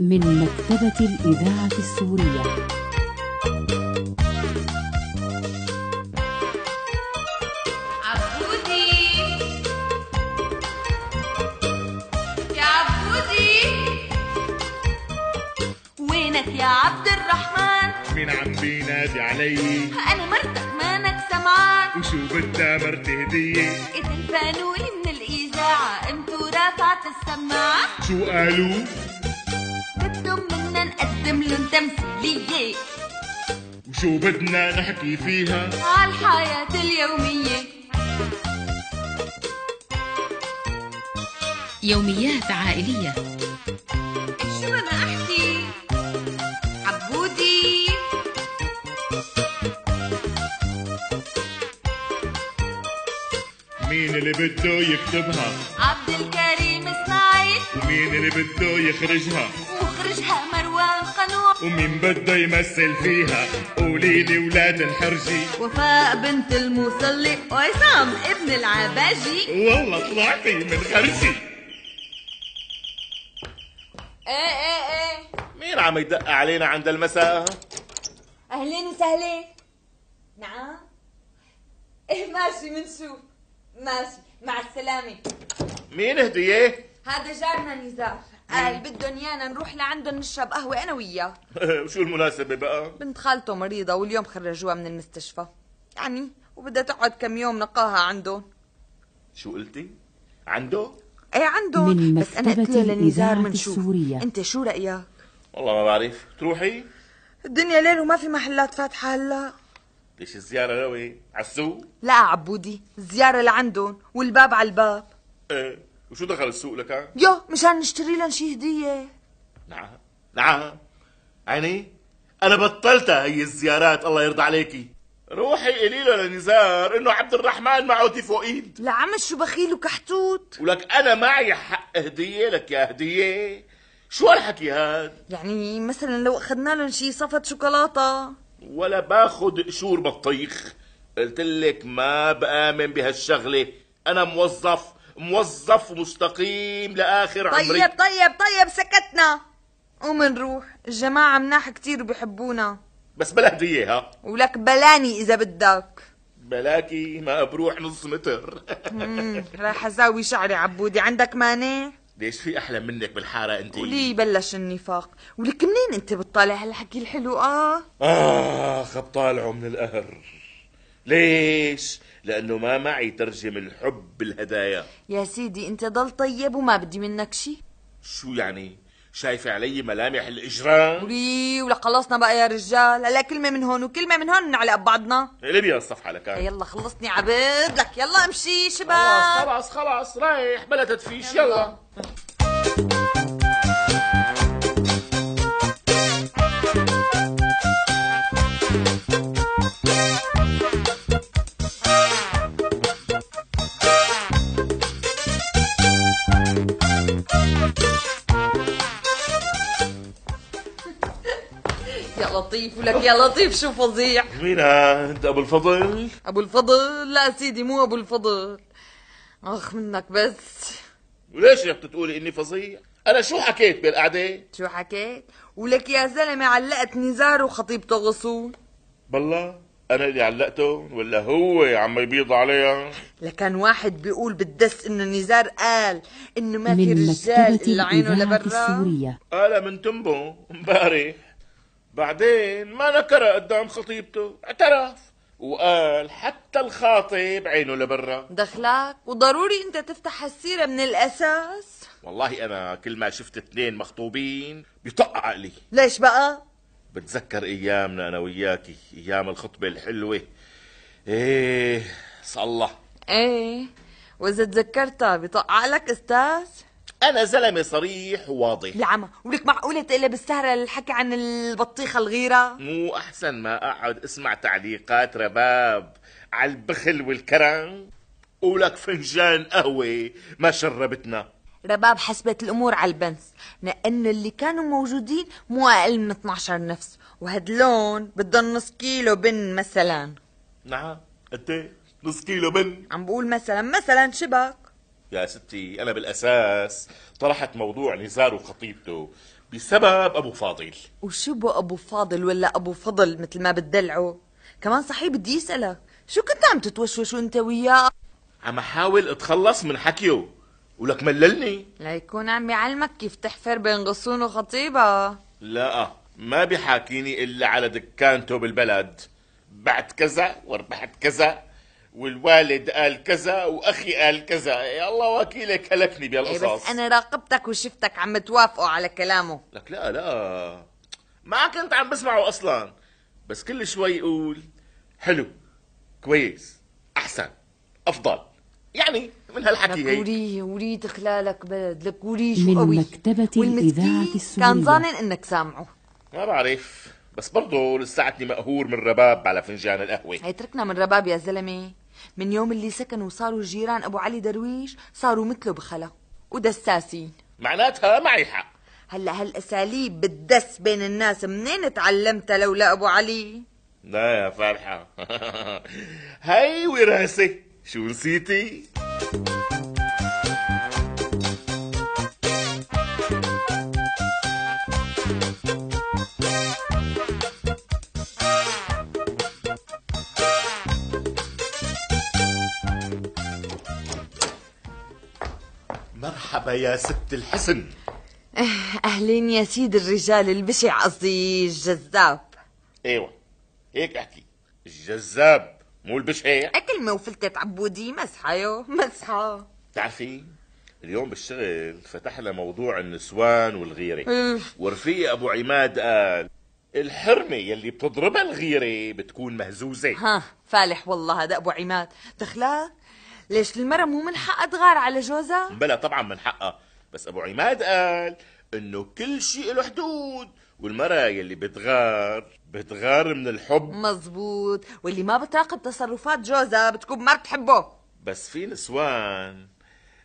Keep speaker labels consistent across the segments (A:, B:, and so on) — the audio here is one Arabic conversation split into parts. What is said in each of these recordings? A: من مكتبة الإذاعة السورية
B: عبودي يا عبودي وينك يا عبد الرحمن
C: مين عم بينادي علي
B: انا مرتك مانك سمعان
C: وشو بدها مرتي هدية
B: اذا الفانوي من الاذاعه قمتوا رافعت السماعه
C: شو قالوا
B: بدهم منا نقدم لهم تمثيليه
C: وشو بدنا نحكي فيها
B: على الحياه اليوميه
D: يوميات عائلية
B: شو انا احكي عبودي
C: مين اللي بده يكتبها
B: عبد الكريم اسماعيل
C: ومين اللي بده يخرجها
B: مخرجها مروان قنوع
C: ومين بده يمثل فيها قولي لي ولاد الحرجي
B: وفاء بنت المصلي وعصام ابن العباجي
C: والله طلعتي من خرجي
B: ايه ايه ايه
E: مين عم يدق علينا عند المساء؟
B: اهلين وسهلين نعم ايه ماشي منشوف ماشي مع السلامة
E: مين ايه؟ هدية؟
B: هذا جارنا نزار قال بدهم ايانا نروح لعندهم نشرب قهوة انا وياه
E: وشو المناسبة بقى؟
B: بنت خالته مريضة واليوم خرجوها من المستشفى يعني وبدها تقعد كم يوم نقاها عندهم
E: شو قلتي؟ عنده؟
B: ايه عندهم
A: من
B: بس انا قلت له
A: مكتبة
B: لنزار
A: الإذاعة
B: منشوف
A: السورية
B: انت شو رأيك؟
E: والله ما بعرف، تروحي؟
B: الدنيا ليل وما في محلات فاتحة هلا
E: ليش الزيارة ناوي؟ عالسوق؟
B: لا عبودي الزيارة لعندهم والباب على الباب
E: ايه وشو دخل السوق لك؟
B: يو مشان نشتري لهم شي هدية
E: نعم نعم عيني أنا بطلتها هي الزيارات الله يرضى عليكي روحي قولي له لنزار إنه عبد الرحمن معه تيفوئيد
B: لا عم شو بخيل وكحتوت
E: ولك أنا معي حق هدية لك يا هدية شو هالحكي هاد؟
B: يعني مثلا لو اخذنا لهم شي صفة شوكولاتة
E: ولا باخد قشور بطيخ قلت لك ما بآمن بهالشغلة أنا موظف موظف ومستقيم لآخر عمري
B: طيب طيب طيب سكتنا قوم نروح الجماعة مناح كتير وبيحبونا
E: بس بلا هدية ها
B: ولك بلاني إذا بدك
E: بلاكي ما بروح نص متر
B: مم، راح أزاوي شعري عبودي عندك مانع؟
E: ليش في أحلى منك بالحارة أنت
B: ولي بلش النفاق ولك منين أنت بتطالع هالحكي الحلو آه؟
E: آخ بطالعه من القهر ليش؟ لأنه ما معي ترجم الحب بالهدايا
B: يا سيدي أنت ضل طيب وما بدي منك شي
E: شو يعني؟ شايفة علي ملامح الإجرام؟
B: ولي ولا خلصنا بقى يا رجال هلا كلمه من هون وكلمه من هون نعلق ببعضنا
E: ليبيا الصفحة لك
B: يلا خلصني عبد لك يلا امشي
E: خلاص
B: شباب
E: خلاص خلاص رايح بلا تدفيش يلا
B: يا لطيف ولك يا لطيف شو فظيع
E: مين انت ابو الفضل
B: ابو الفضل لا سيدي مو ابو الفضل اخ منك بس
E: وليش رح تقولي اني فظيع انا شو حكيت بالقعده
B: شو حكيت ولك يا زلمه علقت نزار وخطيبته غصون
E: بالله انا اللي علقته ولا هو عم يبيض عليها
B: لكان واحد بيقول بالدس انه نزار قال انه ما في
A: من
B: رجال
A: مكتبة
B: الا عينه
A: الإذاعة
B: لبرا
A: السورية
E: قال من تنبه امبارح بعدين ما نكر قدام خطيبته اعترف وقال حتى الخاطب عينه لبرا
B: دخلك وضروري انت تفتح السيره من الاساس
E: والله انا كل ما شفت اثنين مخطوبين بيطق عقلي
B: ليش بقى
E: بتذكر ايامنا انا وياكي ايام الخطبه الحلوه ايه صلى
B: ايه واذا تذكرتها بطق عقلك استاذ
E: انا زلمه صريح وواضح
B: العمى ولك معقوله تقلب السهره الحكي عن البطيخه الغيره
E: مو احسن ما اقعد اسمع تعليقات رباب على البخل والكرم ولك فنجان قهوه ما شربتنا
B: رباب حسبت الامور على البنس لانه اللي كانوا موجودين مو اقل من 12 نفس وهدلون بدهم نص كيلو بن مثلا
E: نعم قد نص كيلو بن
B: عم بقول مثلا مثلا شبك
E: يا ستي انا بالاساس طرحت موضوع نزار وخطيبته بسبب ابو فاضل
B: وشبو ابو فاضل ولا ابو فضل مثل ما بتدلعه كمان صحيح بدي اسالك شو كنت عم تتوشوش وانت وياه
E: عم احاول اتخلص من حكيه ولك مللني
B: ليكون عم يعلمك كيف تحفر بين غصون وخطيبة
E: لا ما بيحاكيني الا على دكانته بالبلد بعت كذا وربحت كذا والوالد قال كذا واخي قال كذا يا الله وكيلك هلكني
B: إيه
E: بهالقصص
B: بس انا راقبتك وشفتك عم توافقوا على كلامه
E: لك لا لا ما كنت عم بسمعه اصلا بس كل شوي يقول حلو كويس احسن افضل يعني من هالحكي
B: لك
E: هيك
B: وريه وريه تخلالك بلد لك وريه شو
A: من
B: قوي
A: مكتبة
B: والمسكين
A: الإذاعة السورية.
B: كان ظانن انك سامعه
E: ما بعرف بس برضه لساتني مقهور من رباب على فنجان القهوه
B: هيتركنا من رباب يا زلمة من يوم اللي سكنوا وصاروا جيران ابو علي درويش صاروا مثله بخلا ودساسين
E: معناتها معي حق
B: هلا هالاساليب بتدس بين الناس منين تعلمتها لولا ابو علي
E: لا يا فرحه هاي وراثه شو نسيتي مرحبا يا ست الحسن
B: اهلين يا سيد الرجال البشع قصدي الجذاب
E: ايوه هيك احكي الجذاب مو البشع
B: كلمة وفلتة عبودي مسحة يو مسحة
E: بتعرفي اليوم بالشغل فتحنا موضوع النسوان والغيرة ورفيق أبو عماد قال الحرمة يلي بتضربها الغيرة بتكون مهزوزة
B: ها فالح والله هذا ابو عماد تخلاك ليش المرة مو من حقها تغار على جوزها
E: بلا طبعا من حقها بس أبو عماد قال إنه كل شيء له حدود والمرأة يلي بتغار بتغار من الحب
B: مزبوط واللي ما بتراقب تصرفات جوزها بتكون ما بتحبه
E: بس في نسوان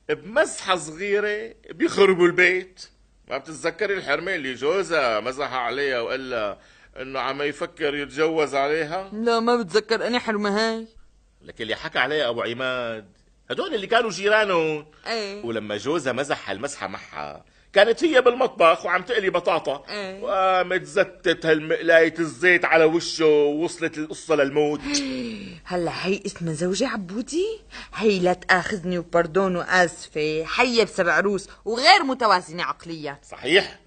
E: بمزحة صغيرة بيخربوا البيت ما بتتذكري الحرمة اللي جوزها مزح عليها وقال لها انه عم يفكر يتجوز عليها
B: لا ما بتذكر اني حرمة هاي
E: لك اللي حكى عليها ابو عماد هدول اللي كانوا جيرانه
B: ايه
E: ولما جوزها مزح هالمزحة معها كانت هي بالمطبخ وعم تقلي بطاطا
B: إيه.
E: وقامت زتت هالمقلاية الزيت على وشه ووصلت القصة للموت
B: هلا هي اسمها زوجي عبودي هي لا تاخذني وبردون واسفه حيه بسبع روس وغير متوازنه عقليا
E: صحيح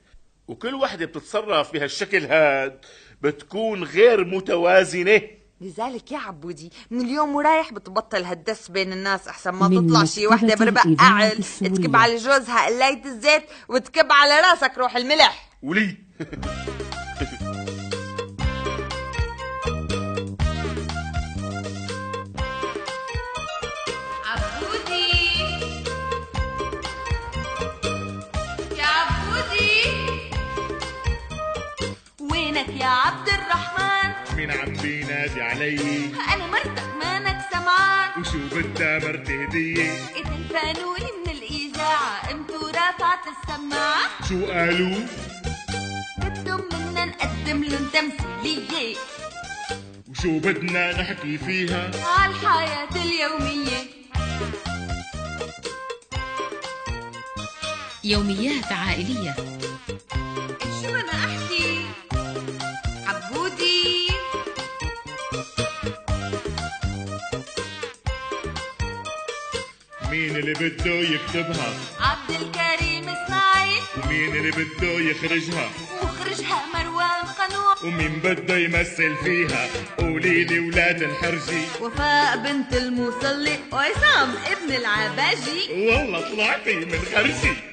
E: وكل وحدة بتتصرف بهالشكل هاد بتكون غير متوازنة
B: لذلك يا عبودي من اليوم ورايح بتبطل هالدس بين الناس احسن ما
A: من
B: تطلع شي وحده
A: مكتبة
B: بربق
A: الإذاعة
B: قعل
A: السورية.
B: تكب على جوزها قلاية الزيت وتكب على راسك روح الملح
E: ولي
F: عبودي يا عبودي وينك يا عبد الرحمن
C: مين عم بينادي علي
F: انا مرتك مانك سمعان
C: وشو بدها مرتي هدية
F: اذا الفانولي من الاذاعه قمت ورافعت السماعه
C: شو قالوا
F: بدهم منا نقدم لهم تمثيليه
C: وشو بدنا نحكي فيها
F: على الحياه اليوميه
D: يوميات عائلية
F: شو بدنا احكي عبودي
C: مين اللي بده يكتبها
F: عبد الكريم اسماعيل
C: ومين اللي بده يخرجها
F: مخرجها مروان قنوع
C: ومين بده يمثل فيها قولي لي ولاد الحرجي
F: وفاء بنت المصلي وعصام ابن العباجي
C: والله طلعتي من خرجي